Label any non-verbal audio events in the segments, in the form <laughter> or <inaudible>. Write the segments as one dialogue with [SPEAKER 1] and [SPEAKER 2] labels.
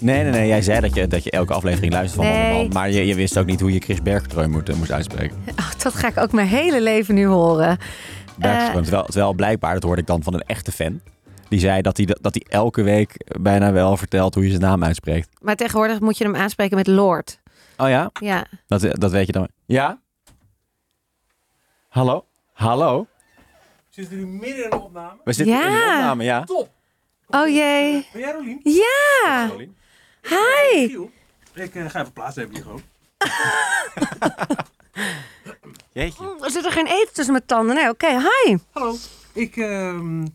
[SPEAKER 1] Nee, nee, nee. Jij zei dat je, dat je elke aflevering luistert van
[SPEAKER 2] Nee.
[SPEAKER 1] Wandelman. Maar je, je wist ook niet hoe je Chris Bergström moet, eh, moest uitspreken.
[SPEAKER 2] Oh, dat ga ik ook mijn hele leven nu horen.
[SPEAKER 1] Bergström. terwijl, terwijl blijkbaar, dat hoorde ik dan van een echte fan. Die zei dat hij, dat hij elke week bijna wel vertelt hoe je zijn naam uitspreekt.
[SPEAKER 2] Maar tegenwoordig moet je hem aanspreken met Lord.
[SPEAKER 1] Oh ja?
[SPEAKER 2] Ja.
[SPEAKER 1] Dat, dat weet je dan. Ja? Hallo? Hallo?
[SPEAKER 3] Zitten nu midden in een opname?
[SPEAKER 1] We zitten in de
[SPEAKER 2] Ja.
[SPEAKER 1] opname, ja.
[SPEAKER 3] Top!
[SPEAKER 2] Oh jee.
[SPEAKER 3] Ben jij Rolien?
[SPEAKER 2] Ja.
[SPEAKER 1] Rolien.
[SPEAKER 2] Hi.
[SPEAKER 3] Giel? Ik eh, ga even plaatsnemen hier gewoon.
[SPEAKER 1] Jeetje.
[SPEAKER 2] Er zit er geen eten tussen mijn tanden. Nee, oké. Hi.
[SPEAKER 3] Hallo. Ik ehm,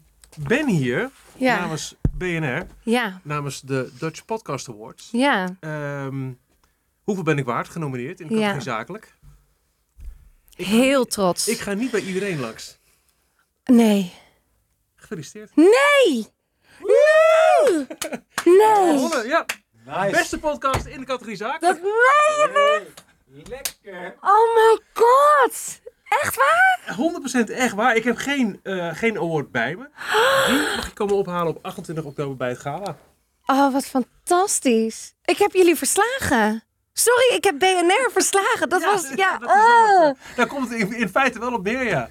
[SPEAKER 3] ben hier
[SPEAKER 2] Ja.
[SPEAKER 3] namens BNR,
[SPEAKER 2] Ja.
[SPEAKER 3] namens de Dutch Podcast Awards.
[SPEAKER 2] Ja.
[SPEAKER 3] Ehm, hoeveel ben ik waard? Genomineerd in de
[SPEAKER 2] Ja.
[SPEAKER 3] categorie zakelijk. Ik ga-
[SPEAKER 2] Heel trots.
[SPEAKER 3] Ik ga niet bij iedereen langs.
[SPEAKER 2] Nee.
[SPEAKER 3] Gefeliciteerd.
[SPEAKER 2] Nee. Nee. Nee.
[SPEAKER 3] Gewonnen, ja.
[SPEAKER 1] Nice.
[SPEAKER 3] Beste podcast in de categorie
[SPEAKER 2] Dat
[SPEAKER 3] zakelijk.
[SPEAKER 2] meen je niet?
[SPEAKER 3] Lekker.
[SPEAKER 2] Oh my god. Echt waar?
[SPEAKER 3] 100% echt waar. Ik heb geen, eh, geen award bij me. Die mag ik komen ophalen op 28 oktober bij het gala.
[SPEAKER 2] Oh, wat fantastisch. Ik heb jullie verslagen. Sorry, ik heb BNR verslagen. Dat
[SPEAKER 3] Ja,
[SPEAKER 2] was... Ja,
[SPEAKER 3] <laughs> dat is wel
[SPEAKER 2] oh.
[SPEAKER 3] Daar komt het in, in feite wel op neer, ja.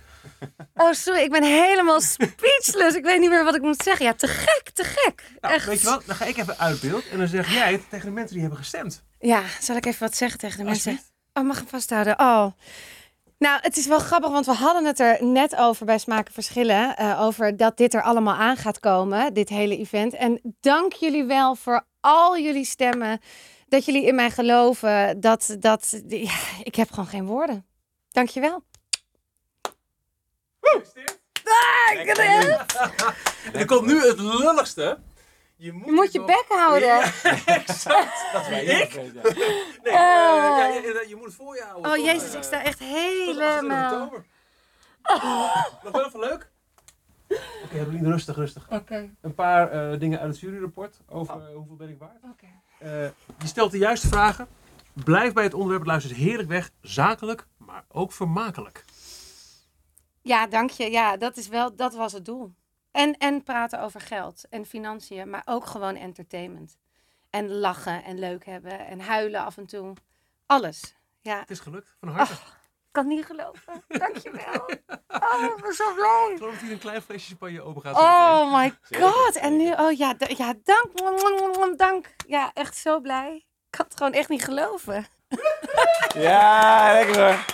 [SPEAKER 2] Oh, sorry, ik ben helemaal speechless. Ik weet niet meer wat ik moet zeggen. Ja, te gek, te gek.
[SPEAKER 3] Nou,
[SPEAKER 2] Echt.
[SPEAKER 3] Weet je wat, dan ga ik even uit beeld en dan zeg jij het tegen de mensen die hebben gestemd.
[SPEAKER 2] Ja, zal ik even wat zeggen tegen de mensen? Oh, mag ik hem vasthouden? Oh. Nou, het is wel grappig, want we hadden het er net over bij Smaken Verschillen. eh, over dat dit er allemaal aan gaat komen, dit hele event. En dank jullie wel voor al jullie stemmen. Dat jullie in mij geloven. Dat, dat, ja, ik heb gewoon geen woorden. Dank je wel. Ah, ik ben-
[SPEAKER 3] Er komt nu het lulligste. Je moet,
[SPEAKER 2] je moet je
[SPEAKER 3] nog-
[SPEAKER 2] bek houden.
[SPEAKER 3] <laughs> exact. Dat weet ik. Nee, eh, ja, ja, ja, je moet het voor je houden.
[SPEAKER 2] Oh
[SPEAKER 3] Tot,
[SPEAKER 2] jezus,
[SPEAKER 3] eh,
[SPEAKER 2] ik sta echt
[SPEAKER 3] tot 28
[SPEAKER 2] helemaal. <laughs>
[SPEAKER 3] oktober. Nog wel even leuk? Oké, Rolien, rustig, rustig.
[SPEAKER 2] Oké.
[SPEAKER 3] Een paar eh, dingen uit het juryrapport over
[SPEAKER 2] Oh.
[SPEAKER 3] eh, hoeveel ben ik waard. Eh, je stelt de juiste vragen. Blijf bij het onderwerp. Het luistert heerlijk weg. Zakelijk, maar ook vermakelijk.
[SPEAKER 2] Ja, dank je. Ja, dat, is wel, dat was het doel. En, en praten over geld en financiën, maar ook gewoon entertainment. En lachen en leuk hebben en huilen af en toe. Alles. Ja,
[SPEAKER 3] Het is gelukt. Van harte.
[SPEAKER 2] Oh. ik kan niet geloven. Dank je wel. Oh, ik ben zo blij.
[SPEAKER 3] Ik geloof dat hier een klein flesje champagne open gaat. zometeen.
[SPEAKER 2] Oh my god. En nu, oh ja, d- ja dank. Mwah, mwah, mwah, Dank. Ja, echt zo blij. Ik kan het gewoon echt niet geloven.
[SPEAKER 1] Ja, lekker hoor.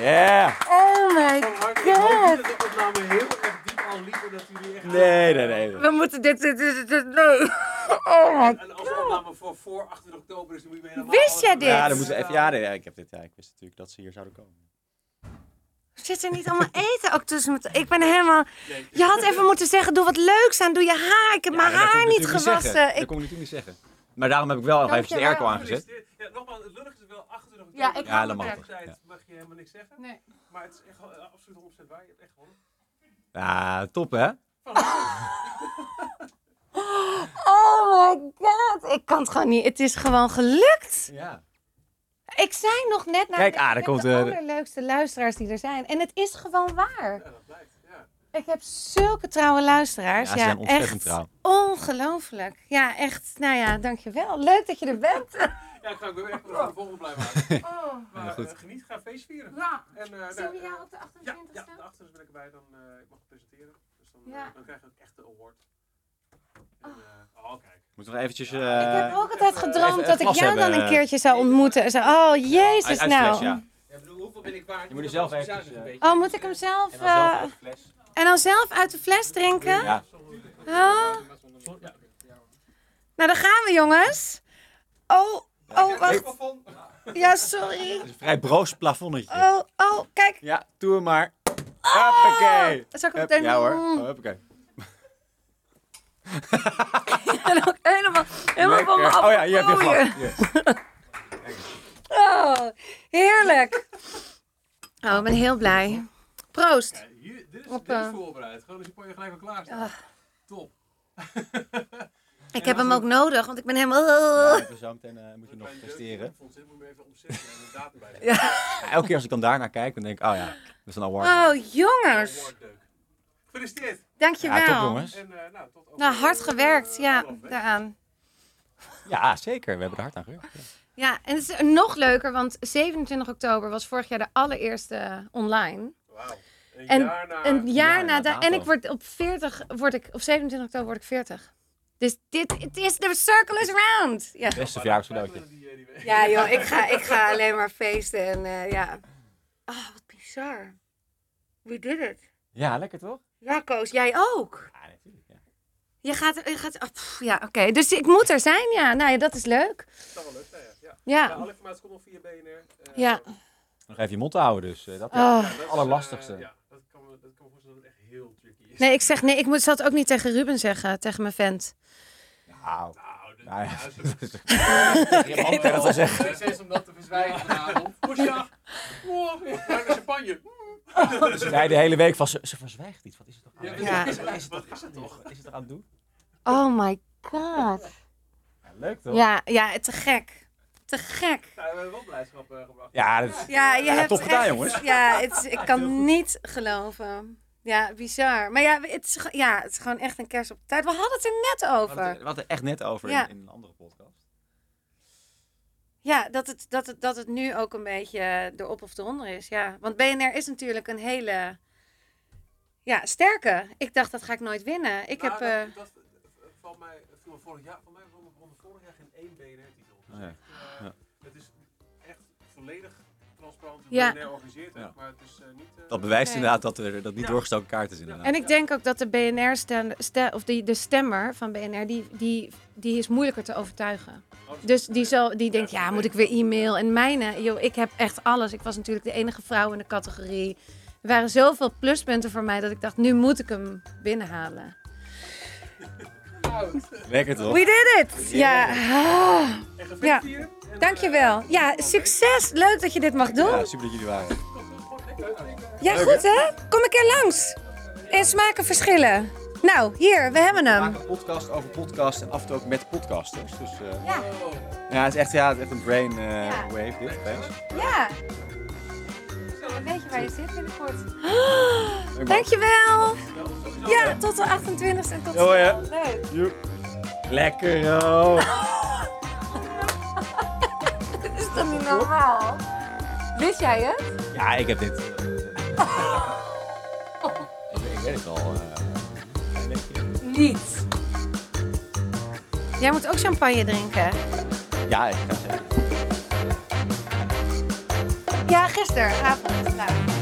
[SPEAKER 1] Ja.
[SPEAKER 2] Oh my
[SPEAKER 3] Van harte. Ik hoop
[SPEAKER 2] god.
[SPEAKER 3] dat de opname heel erg diep al liep. En dat jullie echt...
[SPEAKER 1] Nee, nee, nee.
[SPEAKER 2] We moeten dit, dit, dit, dit- nee. <laughs> Oh my
[SPEAKER 3] En als de opname voor, voor 8 oktober is, dan moet je me helemaal...
[SPEAKER 2] Wist jij dit?
[SPEAKER 1] Ja, dan moeten we even, ja, nee, ja, ik heb dit. Ja, ik wist natuurlijk dat ze hier zouden komen.
[SPEAKER 2] Zit er niet allemaal eten ook tussen? Met... Ik ben helemaal... Je had even moeten zeggen, doe wat leuks aan. Doe je haar. Ik heb mijn haar niet gewassen.
[SPEAKER 1] Dat
[SPEAKER 2] Ik...
[SPEAKER 1] kon ik natuurlijk niet zeggen. Maar daarom heb ik wel nog
[SPEAKER 2] Dank
[SPEAKER 1] even de
[SPEAKER 2] je wel.
[SPEAKER 1] airco aangezet.
[SPEAKER 3] Ja, nogmaals, het lullig is wel 28 oktober.
[SPEAKER 2] Ja, ik hou
[SPEAKER 1] Ja, dat
[SPEAKER 2] me
[SPEAKER 1] mag
[SPEAKER 2] weg.
[SPEAKER 1] toch. Ja.
[SPEAKER 3] mag je helemaal niks zeggen.
[SPEAKER 2] Nee.
[SPEAKER 3] Maar het is echt eh, absoluut 100% waar. Je hebt echt gewonnen.
[SPEAKER 1] Ja, top hè?
[SPEAKER 2] Oh my god. Ik kan het gewoon niet. Het is gewoon gelukt.
[SPEAKER 1] Ja.
[SPEAKER 2] Ik zei nog net... naar
[SPEAKER 1] Kijk,
[SPEAKER 2] ik
[SPEAKER 1] ah, daar
[SPEAKER 2] heb
[SPEAKER 1] komt,
[SPEAKER 2] de
[SPEAKER 1] eh, de-
[SPEAKER 2] allerleukste luisteraars die er zijn. En het is gewoon waar.
[SPEAKER 3] Ja, dat blijkt. Ja.
[SPEAKER 2] Ik heb zulke trouwe luisteraars.
[SPEAKER 1] Ja,
[SPEAKER 2] Ja,
[SPEAKER 1] ze zijn ontzettend
[SPEAKER 2] echt
[SPEAKER 1] trouw.
[SPEAKER 2] Ongelooflijk. Ja, echt. Nou ja, dankjewel. Leuk dat je er
[SPEAKER 1] <laughs>
[SPEAKER 2] bent.
[SPEAKER 3] Ja, ik ga ook weer echt nog aan de volgende blijven houden.
[SPEAKER 2] Oh,
[SPEAKER 3] Maar
[SPEAKER 1] goed.
[SPEAKER 3] eh, geniet, ga feest vieren.
[SPEAKER 2] ja.
[SPEAKER 3] En, eh,
[SPEAKER 2] Zien we
[SPEAKER 3] nou,
[SPEAKER 2] jou op de
[SPEAKER 3] Ja,
[SPEAKER 2] 28e?
[SPEAKER 3] ja de achters ben ik erbij, dan eh, ik mag het presenteren. Dus dan, eh,
[SPEAKER 2] Ja.
[SPEAKER 3] dan krijg je ook echt de award. En, eh, oh, kijk.
[SPEAKER 1] Moeten we nog eventjes... eh
[SPEAKER 2] Ik heb ook altijd
[SPEAKER 1] even
[SPEAKER 2] gedroomd
[SPEAKER 1] een
[SPEAKER 2] dat ik
[SPEAKER 1] glas
[SPEAKER 2] jou dan
[SPEAKER 1] hebben. eh,
[SPEAKER 2] een keertje zou ontmoeten. Zo, oh, jezus
[SPEAKER 1] uit- uitfles,
[SPEAKER 2] nou.
[SPEAKER 1] ja.
[SPEAKER 3] Ja, bedoel, hoeveel ben ik waard?
[SPEAKER 1] Je moet er zelf
[SPEAKER 3] even
[SPEAKER 1] eventjes, eh,
[SPEAKER 2] Oh, moet ik hem zelf...
[SPEAKER 1] En
[SPEAKER 2] En
[SPEAKER 1] dan zelf uit de fles.
[SPEAKER 2] en dan zelf uit de fles drinken?
[SPEAKER 1] Ja.
[SPEAKER 2] Oh. Nou, dan gaan we, jongens. Oh, oh, wacht. Ja, sorry.
[SPEAKER 1] Het is een vrij broos plafonnetje.
[SPEAKER 2] Oh, oh, kijk. Oh!
[SPEAKER 1] Ja, doe hem maar. Hoppakee.
[SPEAKER 2] Zal
[SPEAKER 1] Hup,
[SPEAKER 2] ik hem meteen
[SPEAKER 1] Ja hoor.
[SPEAKER 2] doen?
[SPEAKER 1] Oh, Hoppakee.
[SPEAKER 2] <laughs> En ook helemaal, helemaal van me
[SPEAKER 1] Lekker.
[SPEAKER 2] af.
[SPEAKER 1] Oh ja, hier heb je glas. Hier.
[SPEAKER 2] Oh, heerlijk. Oh, ik ben heel blij. Proost.
[SPEAKER 3] Ja, hier, dit is,
[SPEAKER 2] Op,
[SPEAKER 3] dit is
[SPEAKER 2] eh,
[SPEAKER 3] voorbereid. Gewoon als je je gelijk al klaar
[SPEAKER 2] Ah.
[SPEAKER 3] staat. Top.
[SPEAKER 2] Ik heb hem ook nodig, want ik ben helemaal...
[SPEAKER 1] Ja, even zo meteen eh, moet je nog presteren.
[SPEAKER 3] Ik vond dit moet je even omzetten en een datum bij.
[SPEAKER 2] Ja.
[SPEAKER 1] Ja, elke keer als ik dan daarna kijk, dan denk ik, oh ja, dat is een award.
[SPEAKER 2] Oh, jongens.
[SPEAKER 3] Award leuk. Gefeliciteerd.
[SPEAKER 2] Dankjewel.
[SPEAKER 1] ja, top jongens.
[SPEAKER 3] En eh, nou, tot over.
[SPEAKER 2] Nou, hard gewerkt, ja, daaraan.
[SPEAKER 1] Ja, zeker. We hebben er hard aan gewerkt. Ja.
[SPEAKER 2] Ja, en het is nog leuker, want 27 oktober was vorig jaar de allereerste online.
[SPEAKER 3] Wauw. Een
[SPEAKER 2] En-
[SPEAKER 3] jaar na...
[SPEAKER 2] een jaar
[SPEAKER 1] ja,
[SPEAKER 2] na da-
[SPEAKER 1] dato.
[SPEAKER 2] En ik word op 40, word ik, op 27 oktober word ik 40. Dus dit, het is, the circle is round. Ja.
[SPEAKER 1] Beste verjaarscadeautje.
[SPEAKER 3] Die, eh, die week.
[SPEAKER 2] Ja, joh, ik ga, ik ga alleen maar feesten en eh, ja. Oh, wat bizar. We did it.
[SPEAKER 1] Ja, lekker toch?
[SPEAKER 2] Ja, Koos, jij ook.
[SPEAKER 1] Ja, natuurlijk. Ja.
[SPEAKER 2] Je gaat, je gaat oh, pff, ja, oké. Dus ik moet er zijn, ja. Nou ja, dat is leuk.
[SPEAKER 3] Dat zou wel leuk zijn, ja. ja. Ja,
[SPEAKER 2] Ja,
[SPEAKER 3] alle informatie komt nog via BNR. eh,
[SPEAKER 2] ja.
[SPEAKER 1] Nog even je mond houden dus. eh, dat
[SPEAKER 2] Oh.
[SPEAKER 3] dat is,
[SPEAKER 1] allerlastigste.
[SPEAKER 3] eh, ja, dat kan me, dat kan me voorstellen dat het echt heel tricky is.
[SPEAKER 2] Nee, ik zeg, nee, ik moet, zal het ook niet tegen Ruben zeggen, tegen mijn vent.
[SPEAKER 1] Nou,
[SPEAKER 3] Nou, dat
[SPEAKER 2] <laughs>
[SPEAKER 1] nou <laughs> ja.
[SPEAKER 3] is juist-
[SPEAKER 1] Je mag dat wel zeggen.
[SPEAKER 4] Succes om dat te verzwijgen vanavond.
[SPEAKER 1] <laughs>
[SPEAKER 3] Poesja! Oh, bruine champagne.
[SPEAKER 1] Zij de hele week van, ze, ze verzwijgt iets. Wat is het toch aan
[SPEAKER 3] Ja,
[SPEAKER 1] het
[SPEAKER 2] Ja.
[SPEAKER 1] doen? Wat is het
[SPEAKER 3] Wat
[SPEAKER 1] toch
[SPEAKER 3] is het
[SPEAKER 1] aan het
[SPEAKER 3] toch?
[SPEAKER 1] doen? Is het er aan het doen?
[SPEAKER 2] Oh my god.
[SPEAKER 1] Ja, leuk toch?
[SPEAKER 2] Ja, ja, te gek. Te gek.
[SPEAKER 3] Nou, we hebben wel blijdschap eh, gebracht.
[SPEAKER 1] Ja, dat is-
[SPEAKER 2] Ja, je
[SPEAKER 1] Ja,
[SPEAKER 2] hebt
[SPEAKER 1] top gedaan,
[SPEAKER 2] echt-
[SPEAKER 1] jongens.
[SPEAKER 2] Ja, het is- ik kan niet geloven. Ja, bizar. Maar ja, het is, ge- ja, het is gewoon echt een kerst op de taart. We hadden het er net
[SPEAKER 1] we hadden het-
[SPEAKER 2] over.
[SPEAKER 1] we hadden het echt net over
[SPEAKER 2] Ja.
[SPEAKER 1] in, in een andere podcast.
[SPEAKER 2] Ja, dat het, dat, het, dat het nu ook een beetje erop of eronder is. Ja. Want BNR is natuurlijk een hele ja, sterke. Ik dacht, dat ga ik nooit winnen. Ik heb...
[SPEAKER 3] Nou,
[SPEAKER 2] eh,
[SPEAKER 3] dat, dat, eh, van mij viel me vorig jaar, van mij won won er vorig jaar geen één BNR-titel. Dus
[SPEAKER 1] Oh ja.
[SPEAKER 3] echt, eh,
[SPEAKER 1] Ja.
[SPEAKER 3] Het is echt volledig transparant hoe
[SPEAKER 2] Ja.
[SPEAKER 3] BNR organiseert, hè,
[SPEAKER 1] Ja.
[SPEAKER 3] maar het is eh, niet... eh,
[SPEAKER 1] Dat bewijst
[SPEAKER 2] Nee.
[SPEAKER 1] inderdaad dat er dat niet
[SPEAKER 3] Ja.
[SPEAKER 1] doorgestoken kaart is inderdaad.
[SPEAKER 2] En ik denk ook dat de BNR, stem, ste- of die, de stemmer van BNR, die, die, die is moeilijker te overtuigen.
[SPEAKER 3] oh, dat is-
[SPEAKER 2] Dus die, zal, die denkt, ja, moet ik weer e-mail? En mijne, joh, ik heb echt alles. Ik was natuurlijk de enige vrouw in de categorie. Er waren zoveel pluspunten voor mij dat ik dacht, nu moet ik hem binnenhalen.
[SPEAKER 1] Lekker toch?
[SPEAKER 2] Oh. We did it! Ja, ah,
[SPEAKER 3] En
[SPEAKER 2] Ja.
[SPEAKER 3] gefeliciteerd. en, eh,
[SPEAKER 2] dankjewel. Ja, succes. Leuk dat je dit mag
[SPEAKER 1] Ja,
[SPEAKER 2] doen.
[SPEAKER 1] super dat jullie er waren.
[SPEAKER 2] Ja, goed hè? Kom een keer langs. En smaken verschillen. Nou, hier, we hebben
[SPEAKER 1] We
[SPEAKER 2] hem.
[SPEAKER 1] maken een podcast over podcast en af en toe ook met podcasters. Dus eh,
[SPEAKER 2] Ja,
[SPEAKER 1] ja, het is echt, ja, het is echt een brain eh,
[SPEAKER 2] Ja.
[SPEAKER 1] wave dit. opeens.
[SPEAKER 2] ja. Weet je waar je zit binnenkort?
[SPEAKER 1] Leuk, man.
[SPEAKER 2] Dankjewel. Ja, tot de 28 en tot
[SPEAKER 1] Oh, Ja, hoor, hè.
[SPEAKER 2] snel. Leuk.
[SPEAKER 1] Lekker joh.
[SPEAKER 2] Dit is toch niet normaal? Wist jij het?
[SPEAKER 1] <laughs> Ja, ik heb
[SPEAKER 2] <laughs>
[SPEAKER 1] dit. ik, weet- ik weet het al. eh, een beetje.
[SPEAKER 2] Niet. Jij moet ook champagne drinken.
[SPEAKER 1] ja, ik ga zeggen.
[SPEAKER 2] Ja, gisteravond. Nou.